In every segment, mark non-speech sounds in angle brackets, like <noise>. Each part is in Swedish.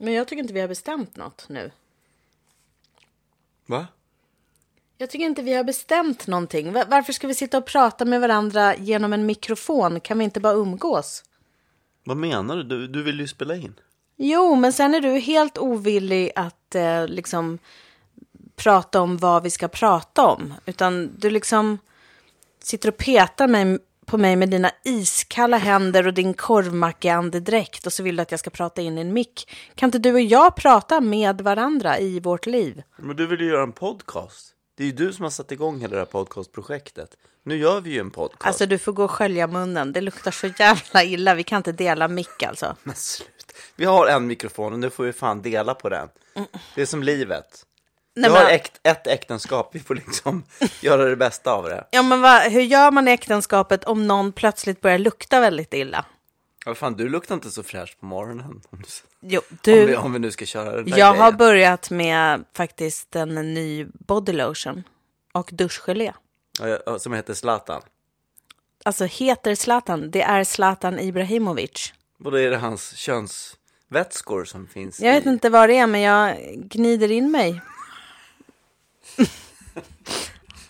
tycker inte vi har bestämt något nu. Va? Jag tycker inte vi har bestämt någonting. Va- Varför ska vi sitta och prata med varandra genom en mikrofon? Kan vi inte bara umgås? Vad menar du? Du, du vill ju spela in. Jo, men sen är du helt ovillig att eh, liksom prata om vad vi ska prata om. Utan du liksom sitter och petar mig, på mig med dina iskalla händer och din korvmackeandedräkt och så vill du att jag ska prata in i en mick. Kan inte du och jag prata med varandra i vårt liv? Men du vill ju göra en podcast. Det är ju du som har satt igång hela det här podcastprojektet. Nu gör vi ju en podcast. Alltså du får gå och skölja munnen, det luktar så jävla illa, vi kan inte dela mick alltså. Men slut. Vi har en mikrofon och nu får vi fan dela på den. Det är som livet. Nej, vi har men- äkt, ett äktenskap, vi får liksom <laughs> göra det bästa av det. Ja men vad- hur gör man i äktenskapet om någon plötsligt börjar lukta väldigt illa? Ja, fan, du luktar inte så fräsch på morgonen. Om, du, Jo, om, vi, du, om vi nu ska köra den där jag har grejen. börjat med faktiskt en ny body lotion och duschgelé. Ja, jag- ja, Som heter Zlatan. Alltså heter Zlatan, det är Zlatan Ibrahimovic. Och då är det hans könsvätskor som finns Jag vet i... inte vad det är men jag gnider in mig.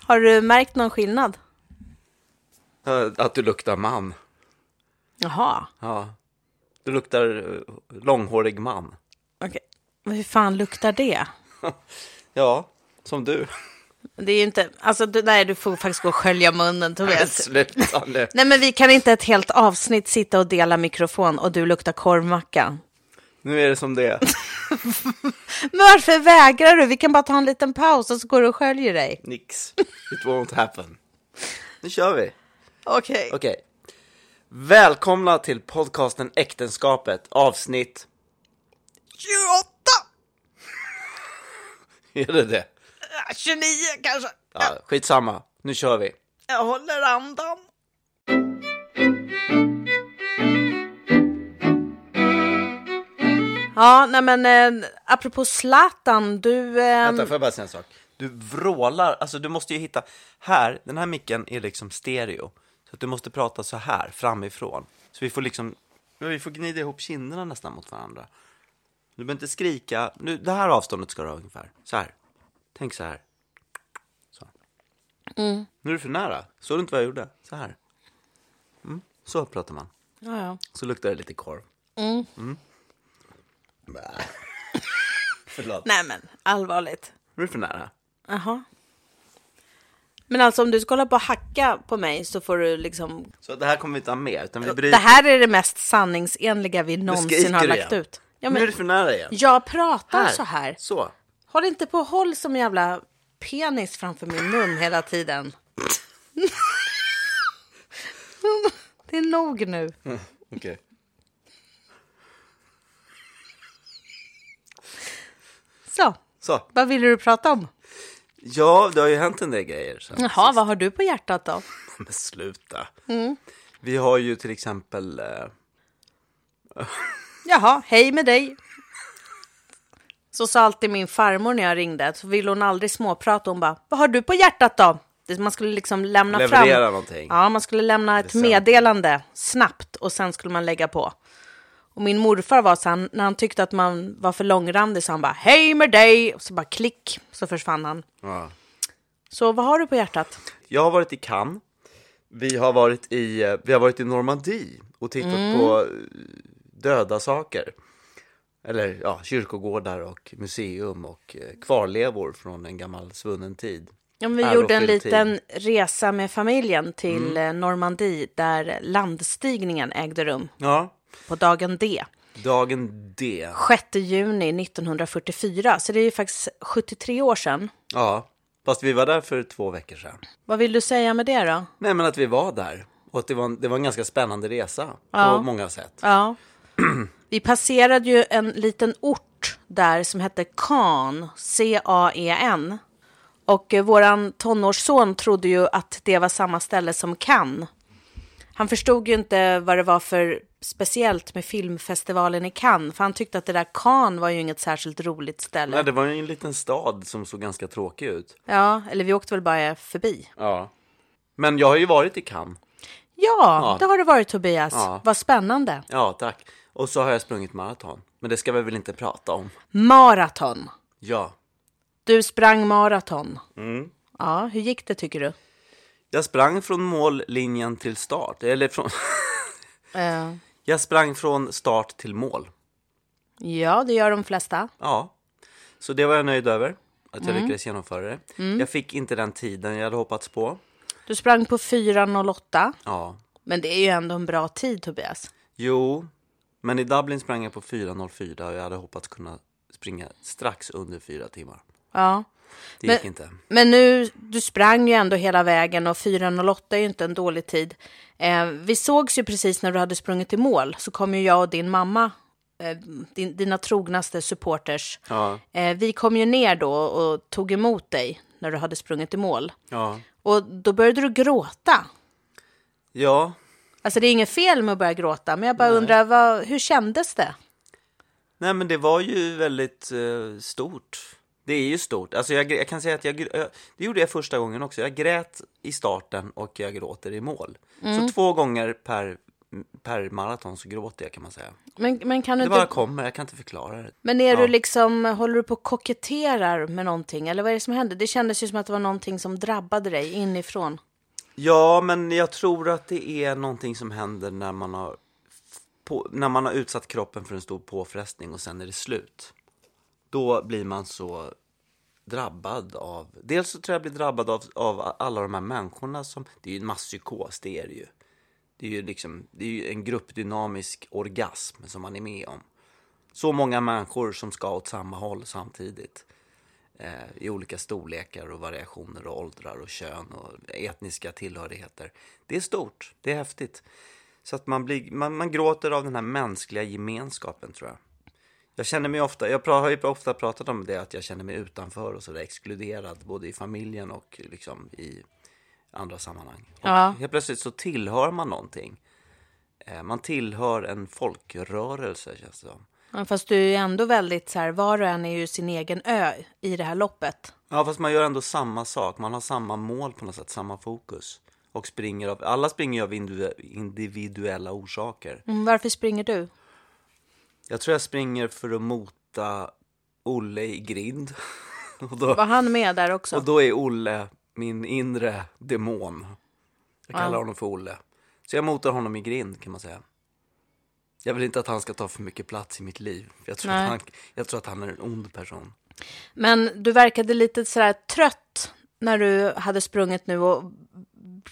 har du märkt någon skillnad? Ja, Att du luktar man. Jaha, Ja. Du luktar eh, långhårig man. okej. Men Hur fan luktar det? Ja, som du. Det är ju inte, alltså du, nej du får faktiskt gå och skölja munnen Tobias. <laughs> Sluta nu. Nej men vi kan inte ett helt avsnitt sitta och dela mikrofon och du luktar korvmacka. Nu är det som det är. Men varför vägrar du? Vi kan bara ta en liten paus och så går du och sköljer dig. Nix. It won't happen. Nu kör vi. Okej. Okej. Välkomna till podcasten Äktenskapet, avsnitt... 28! är det det? 29 kanske. Ja, skitsamma. Nu kör vi. Jag håller andan. Ja, nej men eh, apropå Zlatan, du... ehm, Vänta, får jag bara säga en sak? Du vrålar, alltså du måste ju hitta... Här, den här micken är liksom stereo. Så att du måste prata så här, framifrån. Så vi får liksom... ja, Vi får gnida ihop kinderna nästan mot varandra. Du behöver inte skrika. Nu, det här avståndet ska du ha ungefär. Så här. Tänk så här. Så. Nu är du för nära. Såg du inte vad jag gjorde? Så här. Mm. Så pratar man. ja, ja. Så luktar det lite korv. Mm. <laughs> Förlåt. Nej men, allvarligt. Nu är du för nära. Jaha. Men alltså om du ska hålla på och hacka på mig så får du liksom... Så det här kommer vi inte ha med, utan vi bryter. Det här är det mest sanningsenliga vi någonsin har skriker lagt igen. ut. Ja, Nu är men, det för nära igen. jag pratar så här. Så. Håll inte på och håll som en jävla penis framför min mun hela tiden. <laughs> det är nog nu. Okej. Så, Så. vad ville du prata om? Ja, det har ju hänt en del grejer. Så. Jaha, vad har du på hjärtat då? Men sluta. Mm. Vi har ju till exempel... eh, Jaha, hej med dig. Så sa alltid min farmor när jag ringde, så ville hon aldrig småprata. Hon bara, vad har du på hjärtat då? Det- Man skulle liksom lämna Leverera fram. någonting. Ja, man skulle lämna ett Väsentligt. meddelande snabbt och sen skulle man lägga på. Och min morfar var så han, när han tyckte att man var för långrandig så han bara, hej med dig. Och så bara klick, så försvann han. Ja. Så vad har du på hjärtat? Jag har varit i Cannes. Vi har varit i, eh, vi har varit i Normandie och tittat Mm. på eh, döda saker. Eller ja, kyrkogårdar och museum och eh, kvarlevor från en gammal svunnen tid. Ja, men vi Här och gjorde en fylltid. Mm. liten resa med familjen till eh, Normandie där landstigningen ägde rum Ja, på dagen D. dagen D. 6 juni 1944, så det är ju faktiskt 73 år sedan. Ja, fast vi var där för två veckor sedan. Vad vill du säga med det då? Nej, men att vi var där. Och att det var en, det var en ganska spännande resa på många sätt. Ja. <clears throat> Vi passerade ju en liten ort där som hette Caen, C-A-E-N. E Och eh, våran tonårsson trodde ju att det var samma ställe som Cannes. Han förstod ju inte vad det var för speciellt med filmfestivalen i Cannes, för han tyckte att det där Cannes var ju inget särskilt roligt ställe. Nej, det var ju en liten stad som såg ganska tråkig ut. Ja, eller vi åkte väl bara förbi. Ja. Men jag har ju varit i Cannes. Ja, det har det varit Tobias. Ja. Vad spännande. Ja, tack. Och så har jag sprungit maraton. Men det ska vi väl inte prata om? Maraton. Ja. Du sprang maraton. Mm. Ja, hur gick det tycker du? Jag sprang från mållinjen till start. Eller från... <laughs> Eh, Jag sprang från start till mål. ja, det gör de flesta. Ja. Så det var jag nöjd över. Att Mm. jag lyckades genomföra det. Jag fick inte den tiden jag hade hoppats på. Du sprang på 4.08. Ja. Men det är ju ändå en bra tid, Tobias. Jo. Men i Dublin sprang jag på 4.04 och jag hade hoppats kunna springa strax under fyra timmar. Ja. Det Men- gick inte. Men nu, du sprang ju ändå hela vägen och 4.08 är ju inte en dålig tid. Eh, vi sågs ju precis när du hade sprungit i mål, så kom ju jag och din mamma, eh, din, dina trognaste supporters. Ja. Eh, vi kom ju ner då och tog emot dig när du hade sprungit i mål. Ja. Och då började du gråta. Ja. Alltså det är inget fel med att börja gråta, men jag bara undrar, vad, hur kändes det? Nej men det var ju väldigt eh, stort. Det är ju stort. Alltså jag, jag kan säga att jag, gr- jag, det gjorde jag första gången också. Jag grät i starten och jag gråter i mål. Mm. Så två gånger per, per maraton så gråter jag kan man säga. Men, men kan du Det inte bara kommer, jag kan inte förklara det. Men är Ja. du liksom, håller du på och koketterar med någonting? Eller vad är det som händer? Det kändes ju som att det var någonting som drabbade dig inifrån. Ja, men jag tror att det är någonting som händer när man har, f- på, när man har utsatt kroppen för en stor påfrestning och sen är det slut. Då blir man så drabbad av... Dels så tror jag blir drabbad av, av alla de här människorna som... Det är ju en masspsykos, det är det ju. Det är ju, liksom, det är ju en gruppdynamisk orgasm som man är med om. Så många människor som ska åt samma håll samtidigt eh, i olika storlekar och variationer och åldrar och kön och etniska tillhörigheter. Det är stort, det är häftigt. Så att man, blir, man, man gråter av den här mänskliga gemenskapen tror jag. Jag känner mig ofta, jag pra- har ju ofta pratat om det att jag känner mig utanför och sådär exkluderad både i familjen och liksom i andra sammanhang. Och Ja. Helt plötsligt så tillhör man någonting. Eh, man tillhör en folkrörelse känns det som. Ja, Fast du är ju ändå väldigt så här, var och en är ju sin egen ö i det här loppet. Ja, fast man gör ändå samma sak. Man har samma mål på något sätt, samma fokus. Och springer av, alla springer ju av individu- individuella orsaker. Mm, varför springer du? Jag tror jag springer för att mota Olle i grind. <laughs> Och då, Var han med där också? och då är Olle min inre demon. Jag kallar honom för Olle. Så jag motar honom i grind kan man säga. Jag vill inte att han ska ta för mycket plats i mitt liv. Jag tror, Nej. att han, jag tror att han är en ond person. Men du verkade lite så här trött när du hade sprungit nu och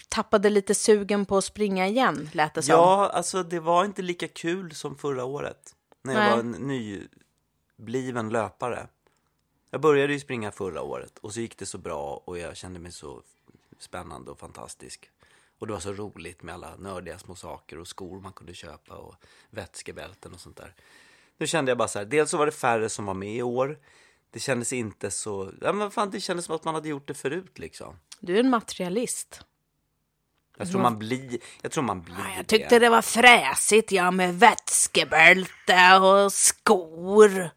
tappade lite sugen på att springa igen, lät det som. Ja, alltså det var inte lika kul som förra året. När jag Nej. var en nybliven löpare. Jag började ju springa förra året och så gick det så bra och jag kände mig så spännande och fantastisk. Och det var så roligt med alla nördiga små saker och skor man kunde köpa och vätskebälten och sånt där. Nu kände jag bara så här, dels så var det färre som var med i år. Det kändes inte så, ja men fan det kändes som att man hade gjort det förut liksom. Du är en materialist. Jag tror man blir, jag tror man blir Jag det. tyckte det var fräsigt, ja, med vätskebälte och skor.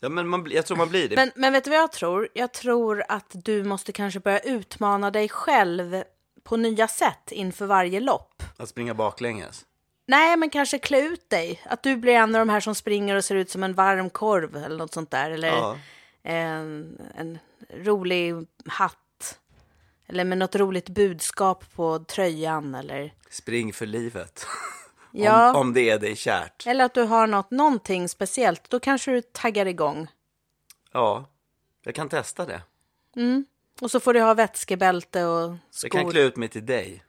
Ja men man, blir- jag tror man blir det. Men, men vet du vad jag tror? Jag tror att du måste kanske börja utmana dig själv på nya sätt inför varje lopp. Att springa baklänges? Nej, men kanske klä ut dig. Att du blir en av de här som springer och ser ut som en varm korv eller något sånt där. Eller Ja. en, en rolig hatt. Eller med något roligt budskap på tröjan eller... Spring för livet. <laughs> Ja. Om, om det är dig kärt. Eller att du har något, någonting speciellt. Då kanske du taggar igång. Ja, jag kan testa det. Och så får du ha vätskebälte och skor. Jag kan klä ut mig till dig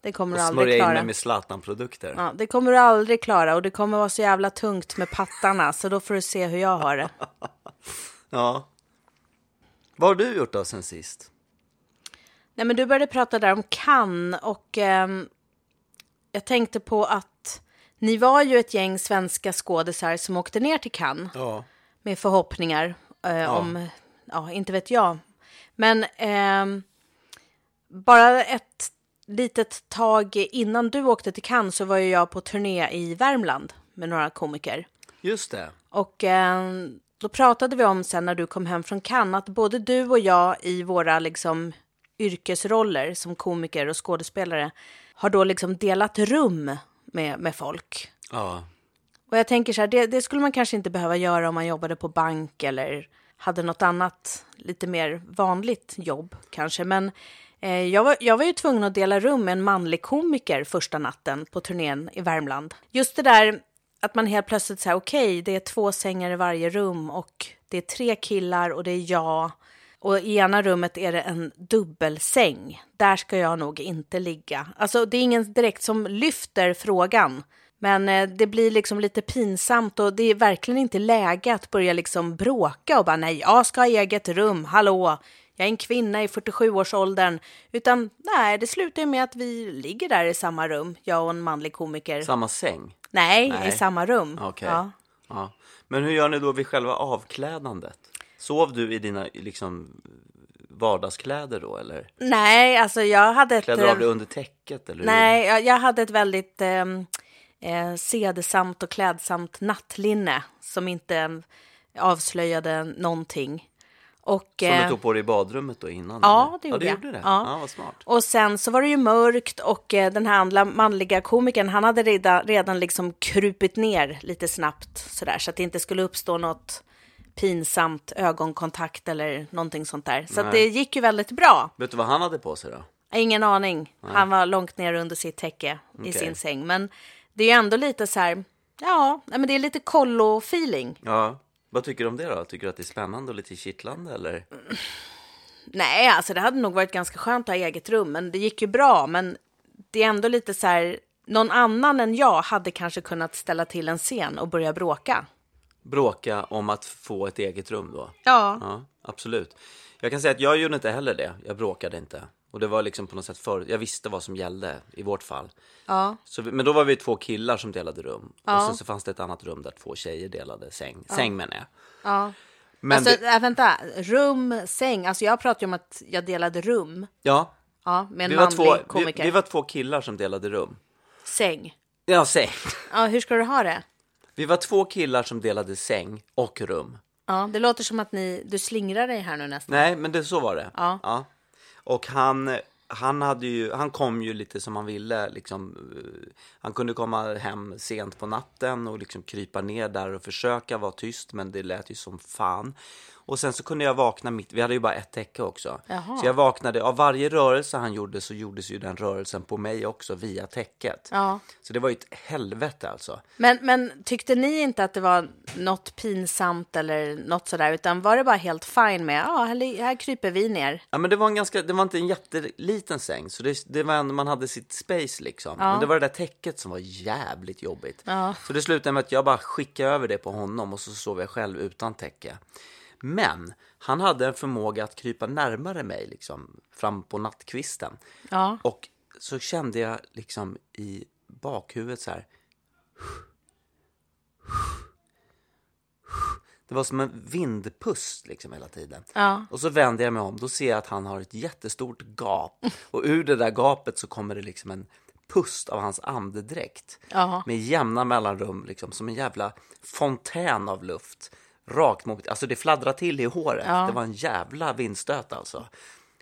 Det kommer och du aldrig smörja in klara. mig med Zlatan-produkter. Ja, det kommer du aldrig klara och det kommer vara så jävla tungt med pattarna så då får du se hur jag <laughs> har det. Ja. Vad har du gjort då sen sist? Nej, men du började prata där om kan och ehm, jag tänkte på att ni var ju ett gäng svenska skådisar som åkte ner till Cannes Ja. med förhoppningar eh, om, ja, inte vet jag. Men ehm, bara ett litet tag innan du åkte till Cannes så var ju jag på turné i Värmland med några komiker. Just det. Och eh, då pratade vi om sen när du kom hem från Cannes att både du och jag i våra liksom, yrkesroller som komiker och skådespelare har då liksom delat rum med, med folk. Ja. Och jag tänker så här, det, det skulle man kanske inte behöva göra om man jobbade på bank eller hade något annat lite mer vanligt jobb kanske. Men eh, jag, var, jag var ju tvungen att dela rum med en manlig komiker första natten på turnén i Värmland. Just det där att man helt plötsligt säger okej, det är två sängar i varje rum och det är tre killar och det är jag. Och i ena rummet är det en dubbelsäng. Där ska jag nog inte ligga. Alltså, det är ingen direkt som lyfter frågan. Men eh, det blir liksom lite pinsamt och det är verkligen inte läge att börja liksom bråka och bara nej, jag ska ha eget rum, hallå, jag är en kvinna i 47-årsåldern. Utan nej, det slutar ju med att vi ligger där i samma rum, jag och en manlig komiker. Samma säng? nej, Nej. i samma rum. Okej. Ja. Ja. Men hur gör ni då vid själva avklädandet? Sov du i dina liksom, vardagskläder då eller? Nej, alltså jag hade ett... Klädde du av dig under täcket? Eller hur? Nej, jag, jag hade ett väldigt ehm, eh, sedesamt och klädsamt nattlinne som inte eh, avslöjade någonting. Och, Som du eh, tog på dig i badrummet då innan? Ja, eller? det gjorde ja, jag. du gjorde det? Ja. Ja. vad smart. och sen så var det ju mörkt och eh, den här andra manliga komikern, han hade redan, redan liksom krupit ner lite snabbt sådär så att det inte skulle uppstå något pinsamt ögonkontakt eller någonting sånt där. Så att Nej. det gick ju väldigt bra. Vet du vad han hade på sig då? Ingen aning. Han var långt ner under sitt täcke i Okej. sin säng. Men det är ju ändå lite så här, ja, nej, men det är lite kollo-feeling. Ja. Vad tycker du om det då? Tycker du att det är spännande och lite kittlande eller? Nej, alltså det hade nog varit ganska skönt att ha eget rum, men det gick ju bra. Men det är ändå lite så här, någon annan än jag hade kanske kunnat ställa till en scen och börja bråka. Bråka om att få ett eget rum då? Ja. Ja, absolut. Jag kan säga att jag gjorde inte heller det. Jag bråkade inte. Och det var liksom på något sätt för... Jag visste vad som gällde i vårt fall. Ja. Så vi, men då var vi två killar som delade rum. Och sen så fanns det ett annat rum där två tjejer delade säng. Säng menar jag. ja. Men alltså, det, äh, vänta, rum, säng. Alltså jag pratar ju om att jag delade rum. ja, Ja, med en vi var, manlig två, vi, komiker. vi var två killar som delade rum. Säng. Ja, säng. <laughs> Ja, hur ska du ha det? Vi var två killar som delade säng och rum. Ja, det låter som att ni, du slingrar dig här nu nästan. Nej, men det, så var det. Ja. Och han, han, hade ju, han kom ju lite som han ville. Liksom, eh, han kunde komma hem sent på natten och liksom krypa ner där och försöka vara tyst, men det lät ju som fan. Och sen så kunde jag vakna mitt, vi hade ju bara ett täcke också. Jaha. Så jag vaknade, av varje rörelse han gjorde så gjordes ju den rörelsen på mig också via täcket. Ja. Så det var ju ett helvete alltså. Men, men tyckte ni inte att det var något pinsamt eller något sådär, utan var det bara helt fine med, ja, här, li- här kryper vi ner. Ja, men det var, en ganska, det var inte en jätteliten säng, så det, det var ändå, man hade sitt space liksom. Men det var det där täcket som var jävligt jobbigt. Så det slutade med att jag bara skickade över det på honom och så sov jag själv utan täcke. Men han hade en förmåga att krypa närmare mig liksom, fram på nattkvisten. Ja. Och så kände jag liksom i bakhuvudet så här. Det var som en vindpust liksom hela tiden. Ja. Och så vänder jag mig om, då ser jag att han har ett jättestort gap. Och ur det där gapet så kommer det liksom en pust av hans andedräkt. Ja. Med jämna mellanrum, liksom som en jävla fontän av luft. Rakt mot, alltså det fladdrade till i håret. Det var en jävla vindstöt alltså.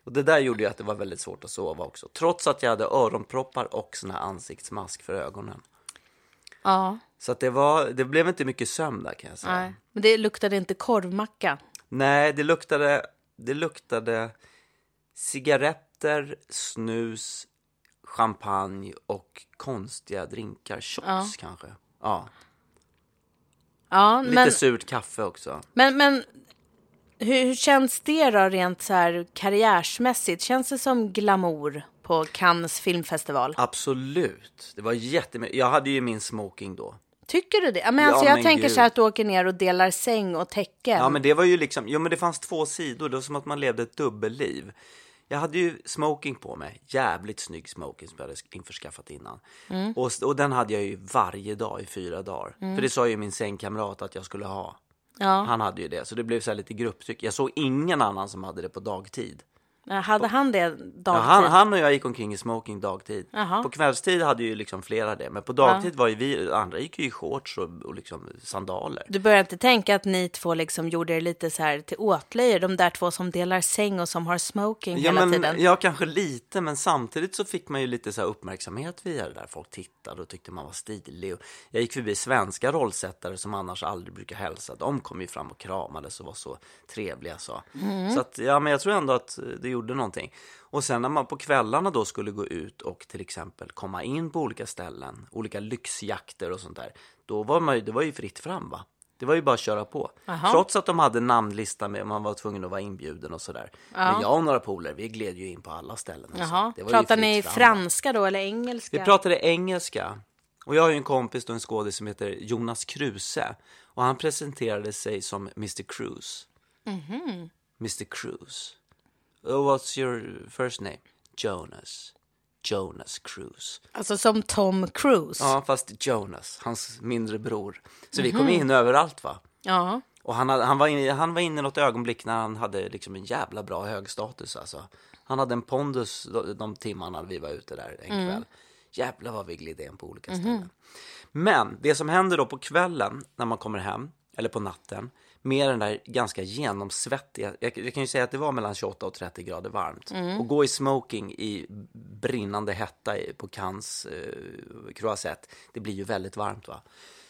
Och det där gjorde ju att det var väldigt svårt att sova också. Trots att jag hade öronproppar och sån här ansiktsmask för ögonen. Ja, Så att det, var, det blev inte mycket sömn där kan jag säga. nej. Men det luktade inte korvmacka. Nej, det luktade, det luktade cigaretter, snus, champagne och konstiga drinkar. Shots kanske. Ja, Ja, lite men, surt kaffe också. men, men hur, hur känns det då rent så här karriärsmässigt? Känns det som glamour på Cannes filmfestival? Absolut. Det var jättemycket. Jag hade ju min smoking då. Tycker du det? Ja, men Ja, alltså, jag men tänker gud. så här att du åker ner och delar säng och täcken. Ja, men det var ju liksom, jo men det fanns två sidor, det var som att man levde ett dubbelliv. Jag hade ju smoking på mig, jävligt snygg smoking som jag hade införskaffat innan. Mm. Och, och den hade jag ju varje dag i fyra dagar. För det sa ju min sängkamrat att jag skulle ha. Ja. Han hade ju det, så det blev så här lite grupptryck. Jag såg ingen annan som hade det på dagtid. Eh, Hade han det dagtid? Ja, han, han och jag gick omkring i smoking dagtid. Jaha. På kvällstid hade ju liksom flera det, men på dagtid var ju vi, andra gick ju i shorts och, och liksom sandaler. Du börjar inte tänka att ni två liksom gjorde er lite så här till åtlöje, de där två som delar säng och som har smoking Ja, hela men, tiden? ja, kanske lite, men samtidigt så fick man ju lite så här uppmärksamhet via det där. Folk tittade och tyckte man var stilig. Och jag gick förbi svenska rollsättare som annars aldrig brukar hälsa. De kom ju fram och kramades och var så trevliga. Så, så att, ja, men jag tror ändå att eh, det gjorde någonting. Och sen när man på kvällarna då skulle gå ut och till exempel komma in på olika ställen, olika lyxjakter och sånt där, då var man ju, det var ju fritt fram va? Det var ju bara att köra på. Trots att de hade namnlista med, man var tvungen att vara inbjuden och sådär. Men jag och några polare, vi gled ju in på alla ställen. och så. Jaha. Det var ju Pratar fritt ni fram. franska då eller engelska? Vi pratade engelska. Och jag har ju en kompis och en skådis som heter Jonas Kruse. Och han presenterade sig som Mr. Cruise. Mhm. Mr. Cruise. Oh, what's your first name? Jonas. Jonas Cruise. Alltså som Tom Cruise? Ja, fast Jonas, hans mindre bror. Så vi kom Mhm. in överallt va. Ja. Och han, hade, han, var inne, han var inne i något ögonblick när han hade liksom en jävla bra hög status alltså. Han hade en pondus de, de timmarna vi var ute där en kväll. Jävlar vad vi gled in på olika ställen. Men det som händer då på kvällen när man kommer hem, eller på natten, med den där ganska genomsvettiga, jag, jag kan ju säga att det var mellan 28 och 30 grader varmt. Och gå i smoking i brinnande hetta i- på Cannes eh, croisette, det blir ju väldigt varmt va.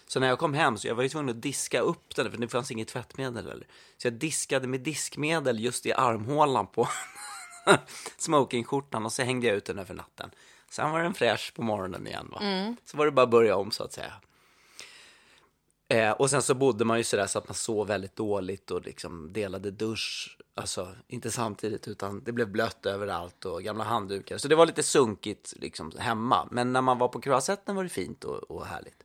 Så när jag kom hem så jag var ju tvungen att diska upp den, för det fanns inget tvättmedel eller. Så jag diskade med diskmedel just i armhålan på smokingskjortan och så hängde jag ut den över natten. Sen var den fräsch på morgonen igen. Va? Så var det bara att börja om så att säga. Eh, och sen så bodde man ju sådär så att man sov väldigt dåligt och liksom delade dusch. Alltså inte samtidigt utan det blev blött överallt och gamla handdukar. Så det var lite sunkigt liksom hemma. Men när man var på Kroasetten var det fint och, och härligt.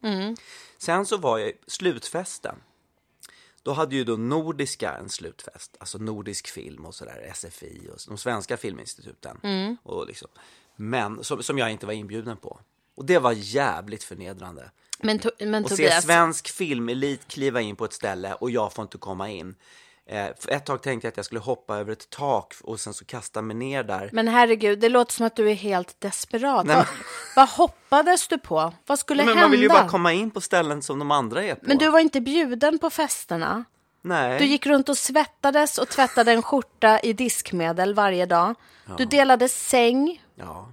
Sen så var jag slutfesten. Då hade ju då Nordiska en slutfest, alltså nordisk film och sådär, SFI och de svenska filminstituten. Mm. Och liksom. Men som, som jag inte var inbjuden på. Och det var jävligt förnedrande. Men, to- men Och se Tobias, svensk filmelit kliva in på ett ställe och jag får inte komma in. Eh, för ett tag tänkte jag att jag skulle hoppa över ett tak och sen så kasta mig ner där. men herregud, det låter som att du är helt desperat. Nej, Vad, vad hoppades du på? Vad skulle Men hända? man vill ju bara komma in på ställen som de andra är på. Men du var inte bjuden på festerna? Nej. Du gick runt och svettades och tvättade en skjorta i diskmedel varje dag. Du delade säng. Ja.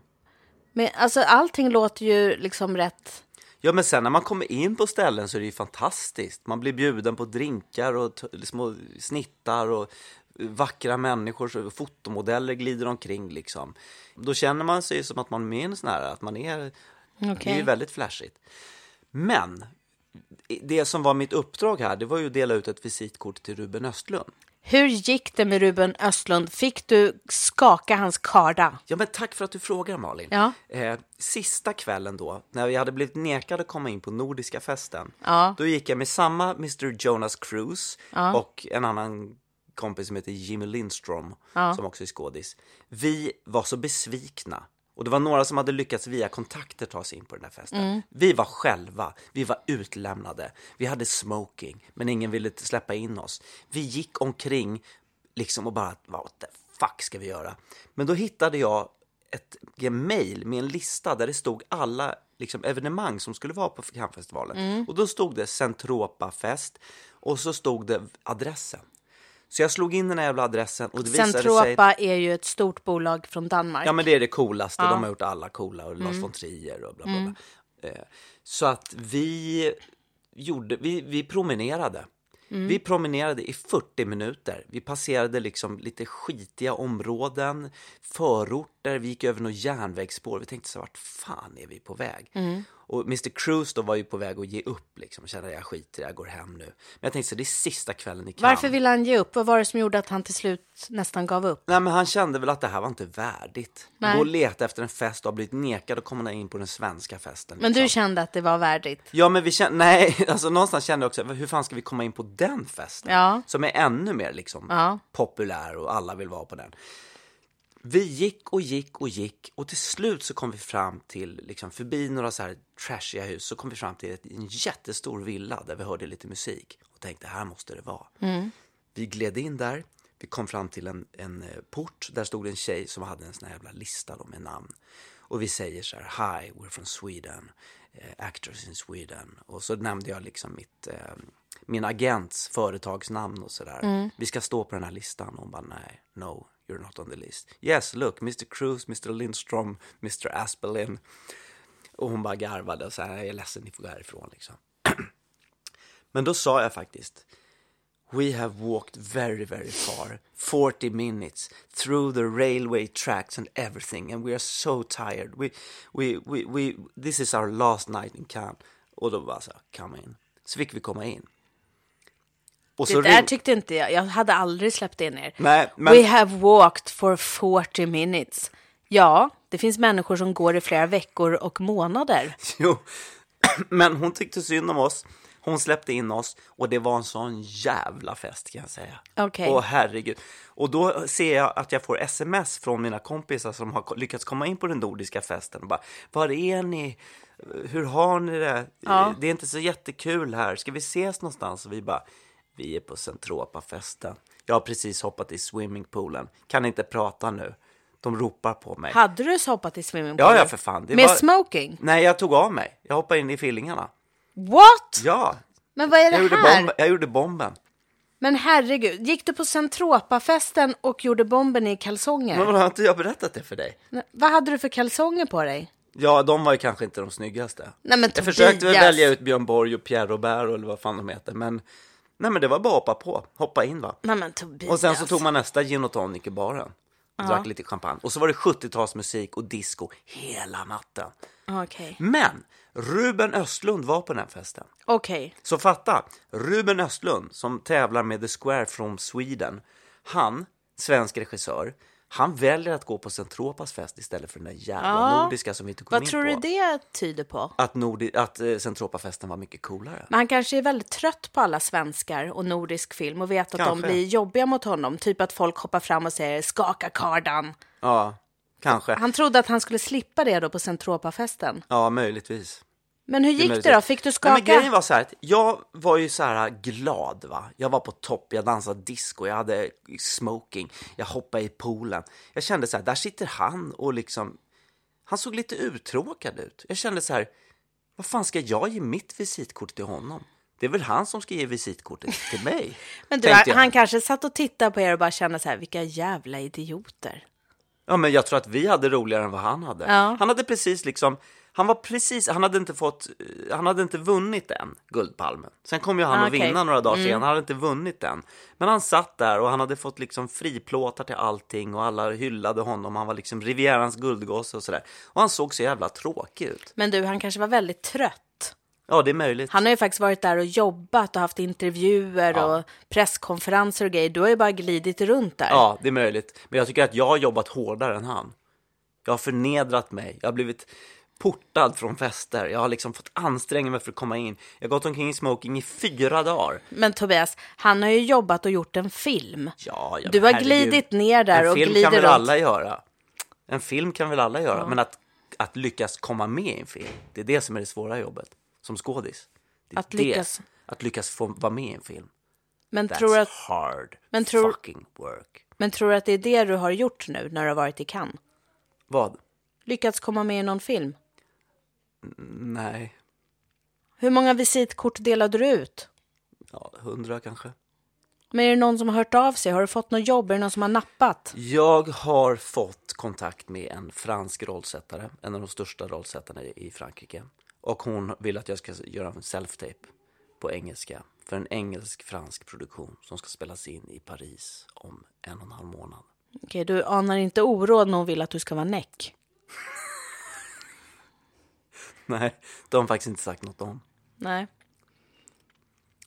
Med, alltså allting låter ju liksom rätt. Ja, men sen när man kommer in på ställen så är det ju fantastiskt. Man blir bjuden på drinkar och t- små snittar och vackra människor, så fotomodeller glider omkring liksom. Då känner man sig som att man är med i en sån här, att man är... Det är Okej. ju väldigt flashigt. Men det som var mitt uppdrag här, det var ju att dela ut ett visitkort till Ruben Östlund. Hur gick det med Ruben Östlund? Fick du skaka hans karda? Ja, men tack för att du frågar Malin. Ja. Eh, sista kvällen då, när vi hade blivit nekade att komma in på Nordiska festen, Ja. då gick jag med samma Mr Jonas Cruise och en annan kompis som heter Jimmy Lindstrom, som också är skådis. Vi var så besvikna. Och det var några som hade lyckats via kontakter ta sig in på den här festen. Mm. Vi var själva, vi var utlämnade, vi hade smoking, men ingen ville släppa in oss. Vi gick omkring liksom och bara, what the fuck ska vi göra? Men då hittade jag ett mail med en lista där det stod alla liksom, evenemang som skulle vara på Cannesfestivalen. Och då stod det Centropafest och så stod det adressen. Så jag slog in den här jävla adressen och det visade sig... Centropa är ju ett stort bolag från Danmark. Ja men det är det coolaste, de har gjort alla coola och Lars von Trier och bla bla bla. Eh, Så att vi gjorde, vi, vi promenerade. Vi promenerade i 40 minuter. Vi passerade liksom lite skitiga områden, förorter, vi gick över några järnvägsspår. Vi tänkte så vart fan är vi på väg? Och Mr Cruise då var ju på väg att ge upp liksom, kände jag skiter i det, jag går hem nu. Men jag tänkte så det är sista kvällen i Cannes. Varför ville han ge upp? Vad var det som gjorde att han till slut nästan gav upp? Nej, men han kände väl att det här var inte värdigt. Nej. Gå och leta efter en fest och ha blivit nekad att komma in på den svenska festen. Men du liksom. kände att det var värdigt? Ja, men vi kände, nej, <laughs> alltså någonstans kände jag också, hur fan ska vi komma in på den festen? Ja. Som är ännu mer liksom Ja. populär och alla vill vara på den. Vi gick och gick och gick och till slut så kom vi fram till, liksom förbi några så här trashiga hus, så kom vi fram till ett, en Mm. jättestor villa där vi hörde lite musik och tänkte, här måste det vara. Vi gled in där, Vi kom fram till en, en eh, port. Där stod en tjej som hade en sån här jävla lista då med namn. Och vi säger så här, hi, we're from Sweden, eh, actors in Sweden. Och så nämnde jag liksom mitt, eh, min agents företagsnamn och sådär. Vi ska stå på den här listan. Och hon bara, nej, no, you're not on the list. Yes, look, Mr. Cruz, Mr. Lindström, Mr. Aspelin. Och hon bara garvade och sa, jag är ledsen, ni får gå härifrån liksom. <clears throat> Men då sa jag faktiskt, We have walked very, very far, 40 minutes, through the railway tracks and everything, and we are so tired. We, we, we, we, this is our last night in Cannes. Och då bara så, här, come in. Så fick vi komma in. Och Det där ring- tyckte inte jag. Jag hade aldrig släppt in er. Nej, men- We have walked for 40 minutes. Ja, det finns människor som går i flera veckor och månader. <laughs> Jo, men hon tyckte synd om oss. Hon släppte in oss och det var en sån jävla fest kan jag säga. Okej. Åh herregud. Och då ser jag att jag får sms från mina kompisar som har ko- lyckats komma in på den nordiska festen och bara Var är ni? Hur har ni det? Ja. Det är inte så jättekul här. Ska vi ses någonstans? Och vi bara Vi är på Centropafesten. Jag har precis hoppat i swimmingpoolen. Kan inte prata nu. De ropar på mig. Hade du så hoppat i Ja, swimmingpoolen? ja, för fan. Det Med var- smoking? Nej, jag tog av mig. Jag hoppade in i fillingarna. What? Ja, Men vad är jag det gjorde, här? bomb, jag gjorde bomben. Men herregud, gick du på Centropafesten och gjorde bomben i Men kalsonger? har inte jag berättat det för dig? Nej, Vad hade du för kalsonger på dig? Ja, de var ju kanske inte de snyggaste. Nej, men jag försökte väl Tobias. välja ut Björn Borg och Pierre Robert eller vad fan de heter. Men, nej, men det var bara att hoppa på, hoppa in va. Nej men Tobias. Och sen så tog man nästa gin och tonic i baren. Och drack lite champagne. Och så var det 70-talsmusik och disco hela natten. Okej. Men Ruben Östlund var på den här festen. Okej. Så fatta, Ruben Östlund som tävlar med The Square from Sweden. Han, svensk regissör, han väljer att gå på Centropas fest istället för den där jävla Ja. nordiska som vi inte kom Vad in tror på. du det tyder på? Att, Nordi- att eh, Centropafesten var mycket coolare. Men han kanske är väldigt trött på alla svenskar och nordisk film och vet att Kanske. de blir jobbiga mot honom. Typ att folk hoppar fram och säger skaka kardan. Ja, kanske. Han trodde att han skulle slippa det då på Centropafesten. Ja, möjligtvis. Men hur är gick det möjligtvis. då? Fick du Nej, men skaka? grejen var så här, att jag var ju så här äh, glad va. Jag var på topp, jag dansade disco, jag hade smoking, jag hoppade i poolen. Jag kände så här, där sitter han och liksom, han såg lite uttråkad ut. Jag kände så här, vad fan ska jag ge mitt visitkort till honom? Det är väl han som ska ge visitkortet till mig? <laughs> Men du, tänkte jag. han kanske satt och tittade på er och bara kände så här, vilka jävla idioter. Ja, men jag tror att vi hade roligare än vad han hade. Ja. Han hade precis liksom, han var precis, han hade inte fått, eh, han hade inte vunnit än, Guldpalmen. Sen kom ju han Ah, att okej. vinna några dagar senare, han hade inte vunnit den. Men han satt där och han hade fått liksom friplåtar till allting och alla hyllade honom, han var liksom Rivierans guldgosse och sådär. Och han såg så jävla tråkig ut. Men du, han kanske var väldigt trött. Ja, det är möjligt. Han har ju faktiskt varit där och jobbat och haft intervjuer och presskonferenser och grejer. Du har ju bara glidit runt där. Ja, det är möjligt. Men jag tycker att jag har jobbat hårdare än han. Jag har förnedrat mig. Jag har blivit portad från fester. Jag har liksom fått anstränga mig för att komma in. Jag har gått omkring i smoking i fyra dagar. Men Tobias, han har ju jobbat och gjort en film. Ja, ja, Du har herregud. glidit ner där en och film glider kan väl runt. alla göra? En film kan väl alla göra? Men att, att lyckas komma med i en film, det är det som är det svåra jobbet som skådis. Det är Att det. lyckas- Att lyckas få vara med i en film. Men That's tror, att, hard Men tror- fucking work. men tror du att det är det du har gjort nu när du har varit i Cannes? Vad? Lyckats komma med i någon film? Nej. Hur många visitkort delade du ut? Ja, hundra kanske. Men är det någon som har hört av sig? Har du fått något jobb? Är det någon som har nappat? Jag har fått kontakt med en fransk rollsättare, en av de största rollsättarna i i Frankrike. Och hon vill att jag ska göra en self-tape på engelska för en engelsk-fransk produktion som ska spelas in i Paris om en och en halv månad. <laughs> Okej, du anar inte oråd när hon vill att du ska vara näck. Nej, det har hon faktiskt inte sagt något om. Nej.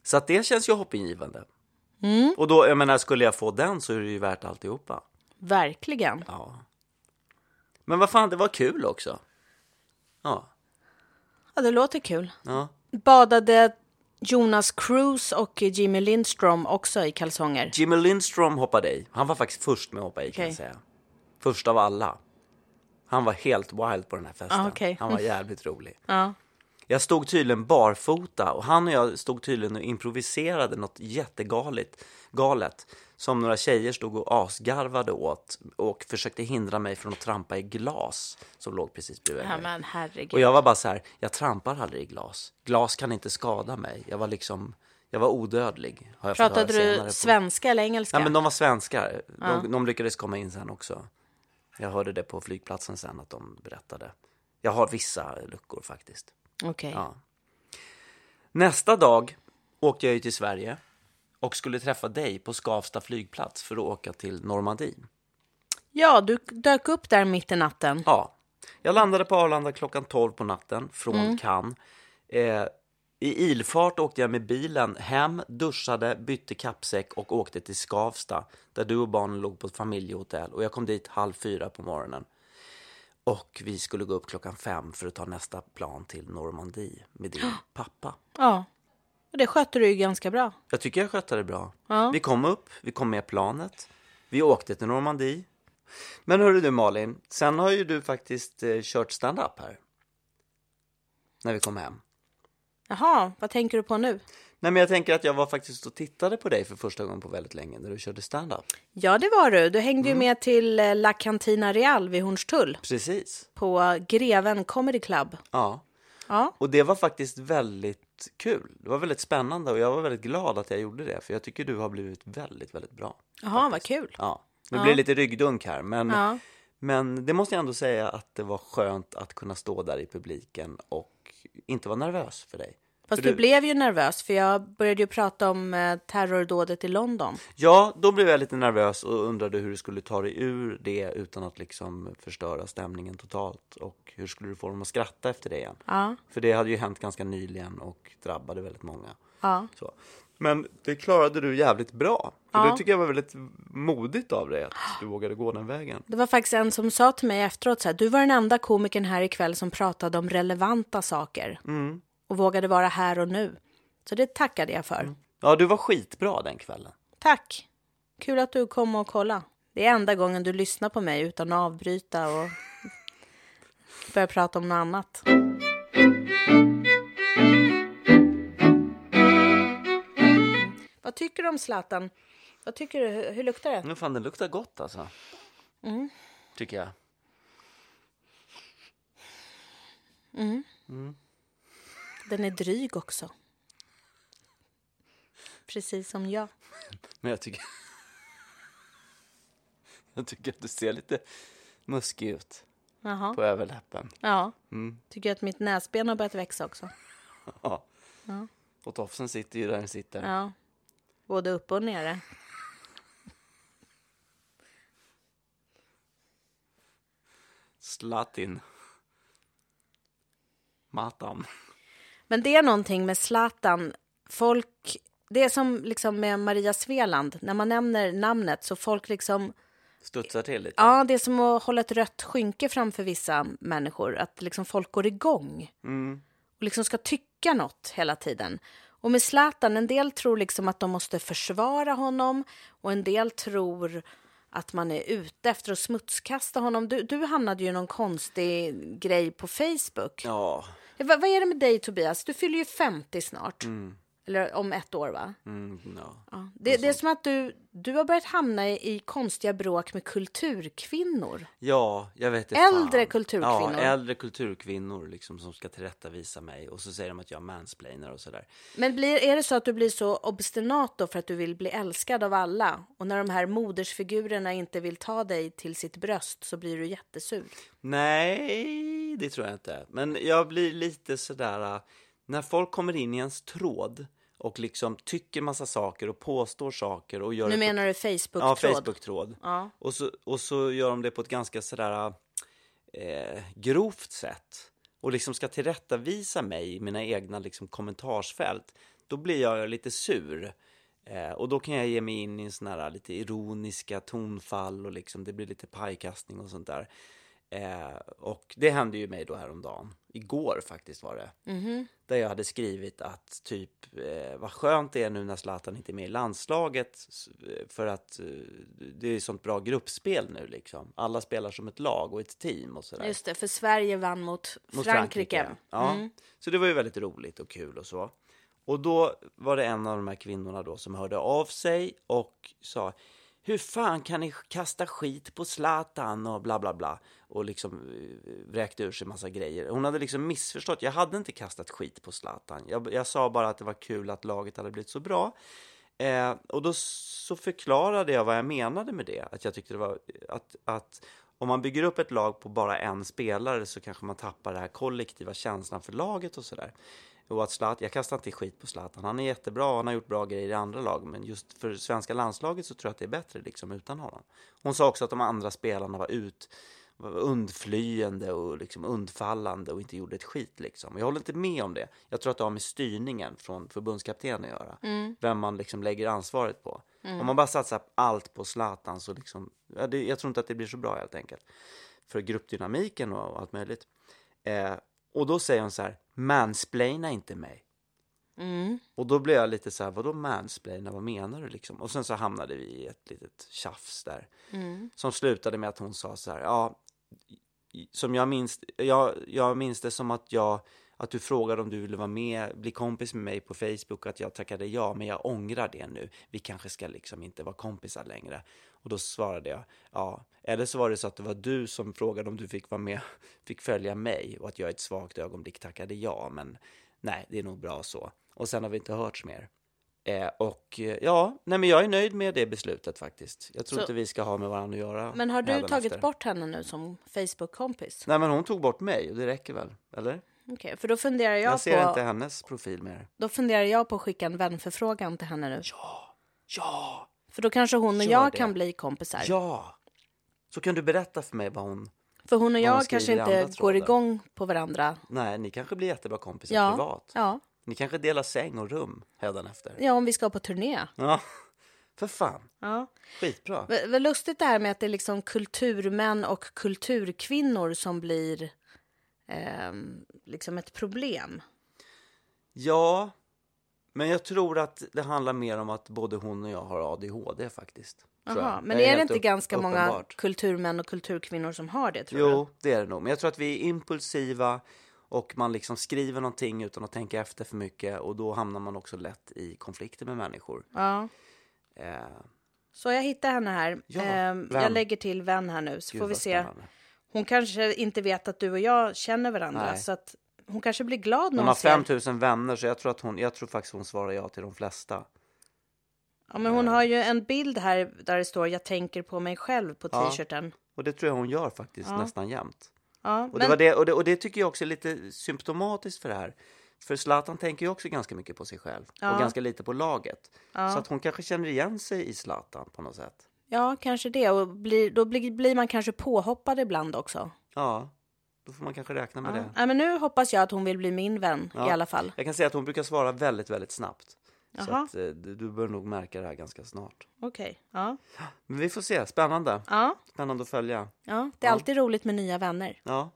Så att det känns ju hoppingivande. Och då, jag menar, skulle jag få den så är det ju värt alltihopa. Verkligen. Ja. Men vad fan, det var kul också. Ja, Ja, det låter kul. ja. Badade Jonas Cruz och Jimmy Lindström också i kalsonger? Jimmy Lindstrom hoppade i. Han var faktiskt först med att hoppa i kan Okej. jag säga. Först av alla. Han var helt wild på den här festen. Ah, okej. Han var jävligt rolig. <laughs> Ja. Jag stod tydligen barfota och han och jag stod tydligen och improviserade något jättegalet galet, Som några tjejer stod och asgarvade åt och försökte hindra mig från att trampa i glas som låg precis bredvid Ja, mig. men herregud. Och jag var bara så här, jag trampar aldrig i glas. Glas kan inte skada mig. Jag var liksom, jag var odödlig. Har jag fått Pratade höra senare du på- svenska eller engelska? Nej, men de var svenskar. De, de lyckades komma in sen också. Jag hörde det på flygplatsen sen att de berättade. Jag har vissa luckor faktiskt. Okej. Ja. Nästa dag åkte jag ju till Sverige och skulle träffa dig på Skavsta flygplats för att åka till Normandie. Ja, du dök upp där mitt i natten. Ja. Jag landade på Arlanda klockan 12 på natten från Cannes. Eh, I ilfart åkte jag med bilen hem, duschade, bytte kappsäck och åkte till Skavsta där du och barnen låg på ett familjehotell och jag kom dit halv fyra på morgonen. Och vi skulle gå upp klockan fem för att ta nästa plan till Normandie med din pappa. Ja. Och det skötte du ju ganska bra. Jag tycker jag skötte det bra. Ja. Vi kom upp, vi kom med planet, vi åkte till Normandie. Men hörru du Malin, sen har ju du faktiskt eh, kört stand-up här. När vi kom hem. Jaha, vad tänker du på nu? Nej men jag tänker att jag var faktiskt och tittade på dig för första gången på väldigt länge när du körde stand-up. Ja, det var du. Du hängde Mm. ju med till eh, La Cantina Real vid Hornstull Precis. på Greven Comedy Club. Ja. Ja, Och det var faktiskt väldigt kul. Det var väldigt spännande och jag var väldigt glad att jag gjorde det. För jag tycker du har blivit väldigt, väldigt bra. jaha, vad kul. Ja. Nu blir det lite ryggdunk här men Ja. Men det måste jag ändå säga att det var skönt att kunna stå där i publiken och inte vara nervös för dig. Fast För du blev ju nervös för jag började ju prata om eh, terrordådet i London. Ja, då blev jag lite nervös och undrade hur du skulle ta dig ur det utan att liksom förstöra stämningen totalt. Och hur skulle du få dem att skratta efter det igen? Ja, För det hade ju hänt ganska nyligen och drabbade väldigt många. ja. Så. Men det klarade du jävligt bra. Och Ja. Det tycker jag var väldigt modigt av dig att du vågade gå den vägen. Det var faktiskt en som sa till mig efteråt så här, du var den enda komikern här ikväll som pratade om relevanta saker och vågade vara här och nu. Så det tackade jag för. Ja, du var skitbra den kvällen. Tack! Kul att du kom och kolla. Det är enda gången du lyssnar på mig utan att avbryta och <laughs> börja prata om något annat. Vad tycker du om Zlatan? Vad tycker du? Hur, hur luktar det? Nu fan, den luktar gott alltså. Mm. Tycker jag. Den är dryg också. Precis som jag. Men jag tycker... <laughs> Jag tycker att du ser lite muskig ut Jaha. på överläppen. Ja. Tycker att mitt näsben har börjat växa också. Ja. Och tofsen sitter ju där den sitter. Ja. Både upp och nere. Slatin. Matan. Men det är någonting med Zlatan. Folk, det är som liksom med Maria Sveland. När man nämner namnet så folk liksom... Studsar till lite. Ja, det är som att hålla ett rött skynke framför vissa människor. Att liksom folk går igång. Och liksom ska tycka något hela tiden. Och med Zlatan, en del tror liksom att de måste försvara honom. Och en del tror att man är ute efter att smutskasta honom. Du, du hamnade ju i någon konstig grej på Facebook. Ja. Vad, vad är det med dig, Tobias? Du fyller ju 50 snart. Eller om ett år, va? Mm, ja. Mm. Ja. Det, det är som att du, du har börjat hamna i, i konstiga bråk med kulturkvinnor. Ja, jag vet det Äldre fan. kulturkvinnor. Ja, äldre kulturkvinnor liksom som ska tillrättavisa mig. Och så säger de att jag mansplainar och sådär. Men blir, är det så att du blir så obstinat då för att du vill bli älskad av alla? Och när de här modersfigurerna inte vill ta dig till sitt bröst så blir du jättesur. Nej, det tror jag inte. Men jag blir lite sådär... äh, När folk kommer in i ens tråd och liksom tycker massa saker och påstår saker och gör Nu det på- menar du Facebook-tråd? Ja, Facebook-tråd. Ja. Och, så, och så gör de det på ett ganska sådär eh, grovt sätt och liksom ska tillrättavisa mig i mina egna liksom, kommentarsfält. Då blir jag lite sur. Eh, och då kan jag ge mig in i en sån här lite ironiska tonfall och liksom, det blir lite pajkastning och sånt där. Eh, och det hände ju mig då häromdagen. Igår faktiskt var det. Där jag hade skrivit att typ eh, vad skönt det är nu när Zlatan inte är med i landslaget s- för att eh, det är sånt bra gruppspel nu liksom. Alla spelar som ett lag och ett team och sådär. Just det, för Sverige vann mot, Mot Frankrike. Ja. Så det var ju väldigt roligt och kul och så. Och då var det en av de här kvinnorna då som hörde av sig och sa Hur fan kan ni kasta skit på Zlatan och bla bla bla och liksom eh, vräkte ur sig massa grejer. Hon hade liksom missförstått. Jag hade inte kastat skit på Zlatan. Jag, jag sa bara att det var kul att laget hade blivit så bra. Eh, och då så förklarade jag vad jag menade med det. Att jag tyckte det var att, att om man bygger upp ett lag på bara en spelare så kanske man tappar den här kollektiva känslan för laget och sådär. Och att Zlatan, jag kastar inte skit på Zlatan, han är jättebra och han har gjort bra grejer i andra lag. Men just för svenska landslaget så tror jag att det är bättre liksom utan honom. Hon sa också att de andra spelarna var ut var undflyende och liksom undfallande och inte gjorde ett skit. Liksom. Och Jag håller inte med om det. Jag tror att det har med styrningen från förbundskaptenen att göra. Vem man liksom lägger ansvaret på. Om man bara satsar allt på Zlatan så liksom, ja, det, jag tror inte att det blir så bra helt enkelt. För gruppdynamiken och allt möjligt. Eh, och då säger hon så här, mansplaina inte mig. Mm, Och då blev jag lite så här, vadå mansplaina, vad menar du liksom? Och sen så hamnade vi i ett litet tjafs där. mm. Som slutade med att hon sa så här, ja, som jag minns, jag, jag minns det som att jag, att du frågade om du ville vara med, bli kompis med mig på Facebook och att jag tackade ja, men jag ångrar det nu. Vi kanske ska liksom inte vara kompisar längre. Och då svarade jag, ja, eller så var det så att det var du som frågade om du fick vara med, <laughs> fick följa mig och att jag i ett svagt ögonblick tackade ja, men nej, det är nog bra så. Och sen har vi inte hörts mer. Eh, och eh, ja, nej men jag är nöjd med det beslutet faktiskt. Jag tror Så- inte vi ska ha med varandra att göra. Men har du tagit hädanefter. bort henne nu som Facebook-kompis? Nej men hon tog bort mig och det räcker väl, eller? Okej, för då funderar jag, Jag ser på... inte hennes profil mer. Då funderar jag på att skicka en vänförfrågan till henne nu. Ja! För då kanske hon och Gör jag det. kan bli kompisar. Ja! Så kan du berätta för mig vad hon... För hon och hon jag skriver kanske i andra inte trådar. går igång på varandra. Nej, ni kanske blir jättebra kompisar Ja, privat. ja. Ni kanske delar säng och rum hädanefter. ja, om vi ska på turné. Ja, för fan. Ja. Skitbra. V- Vad lustigt det här med att det är liksom kulturmän och kulturkvinnor som blir ehm, liksom ett problem. Ja, men jag tror att det handlar mer om att både hon och jag har ADHD faktiskt. tror Jaha, jag. men Det är det helt inte upp- ganska många uppenbart. kulturmän och kulturkvinnor som har det? tror du? Jo, det är det nog. Men jag tror att vi är impulsiva och man liksom skriver någonting utan att tänka efter för mycket och då hamnar man också lätt i konflikter med människor. Ja. Eh, Så jag hittar henne här. Ja, Ehm, vän. jag lägger till vän här nu så gud, får vi vad se. spännande. Hon kanske inte vet att du och jag känner varandra. Nej. Så att hon kanske blir glad när Hon hon, har ser. 5000 vänner så jag tror, att hon, jag tror faktiskt hon svarar ja till de flesta. Ja, men hon har ju en bild här där det står jag tänker på mig själv på Ja. t-shirten. Och det tror jag hon gör faktiskt nästan jämt. Ja, Och, det men var det, och, det, och det tycker jag också är lite symptomatiskt för det här. För Zlatan tänker ju också ganska mycket på sig själv och ganska lite på laget. Så att hon kanske känner igen sig i Zlatan på något sätt. ja kanske det. Och blir, då blir, blir man kanske påhoppad ibland också. Ja, då får man kanske räkna med Ja. det. Ja, men nu hoppas jag att hon vill bli min vän i alla fall. Jag kan säga att hon brukar svara väldigt, väldigt snabbt. Så Jaha. att, eh, du, du bör nog märka det här ganska snart. Okej. Ja. Men vi får se, spännande. Ja. Spännande att följa. ja, det är alltid roligt med nya vänner. Ja.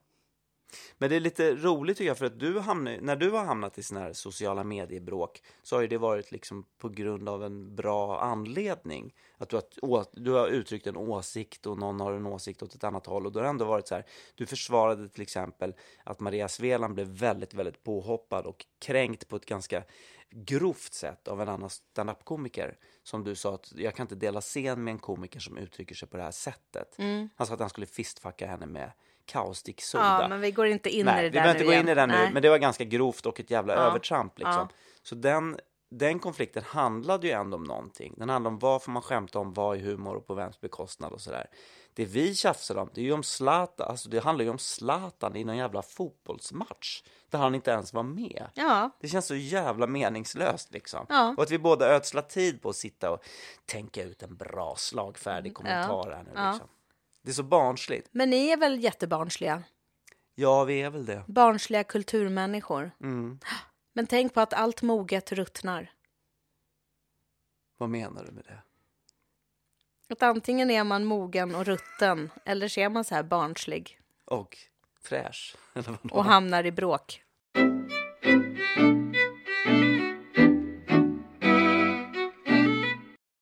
Men det är lite roligt tycker jag för att du hamnar, när du har hamnat i sådana här sociala mediebråk så har ju det varit liksom på grund av en bra anledning. Att du har, å- du har uttryckt en åsikt och någon har en åsikt åt ett annat håll och då har det ändå varit så här. Du försvarade till exempel att Maria Sveland blev väldigt, väldigt påhoppad och kränkt på ett ganska grovt sätt av en annan standup-komiker. Som du sa att jag kan inte dela scen med en komiker som uttrycker sig på det här sättet. Han sa att han skulle fistfucka henne med kaustiksoda. Ja, men vi går inte in Nej, i det vi där behöver inte nu gå igen. in i den nu, Nej. men det var ganska grovt och ett jävla övertramp. Liksom. ja. Så den, den konflikten handlade ju ändå om någonting. Den handlade om vad får man skämta om, vad är humor och på vems bekostnad och sådär. Det vi tjafsar om, det är ju om Zlatan, alltså det handlar ju om Zlatan i någon jävla fotbollsmatch där han inte ens var med. Ja, Det känns så jävla meningslöst liksom. Ja. Och att vi båda ödslar tid på att sitta och tänka ut en bra Mm, slagfärdig kommentar här nu liksom. Det är så barnsligt. men ni är väl jättebarnsliga? Ja, vi är väl det. Mm. Barnsliga kulturmänniskor. Men tänk på att allt moget ruttnar. Vad menar du med det? Att antingen är man mogen och rutten eller så är man så här barnslig Och fräsch. <laughs> Eller vad och hamnar i bråk.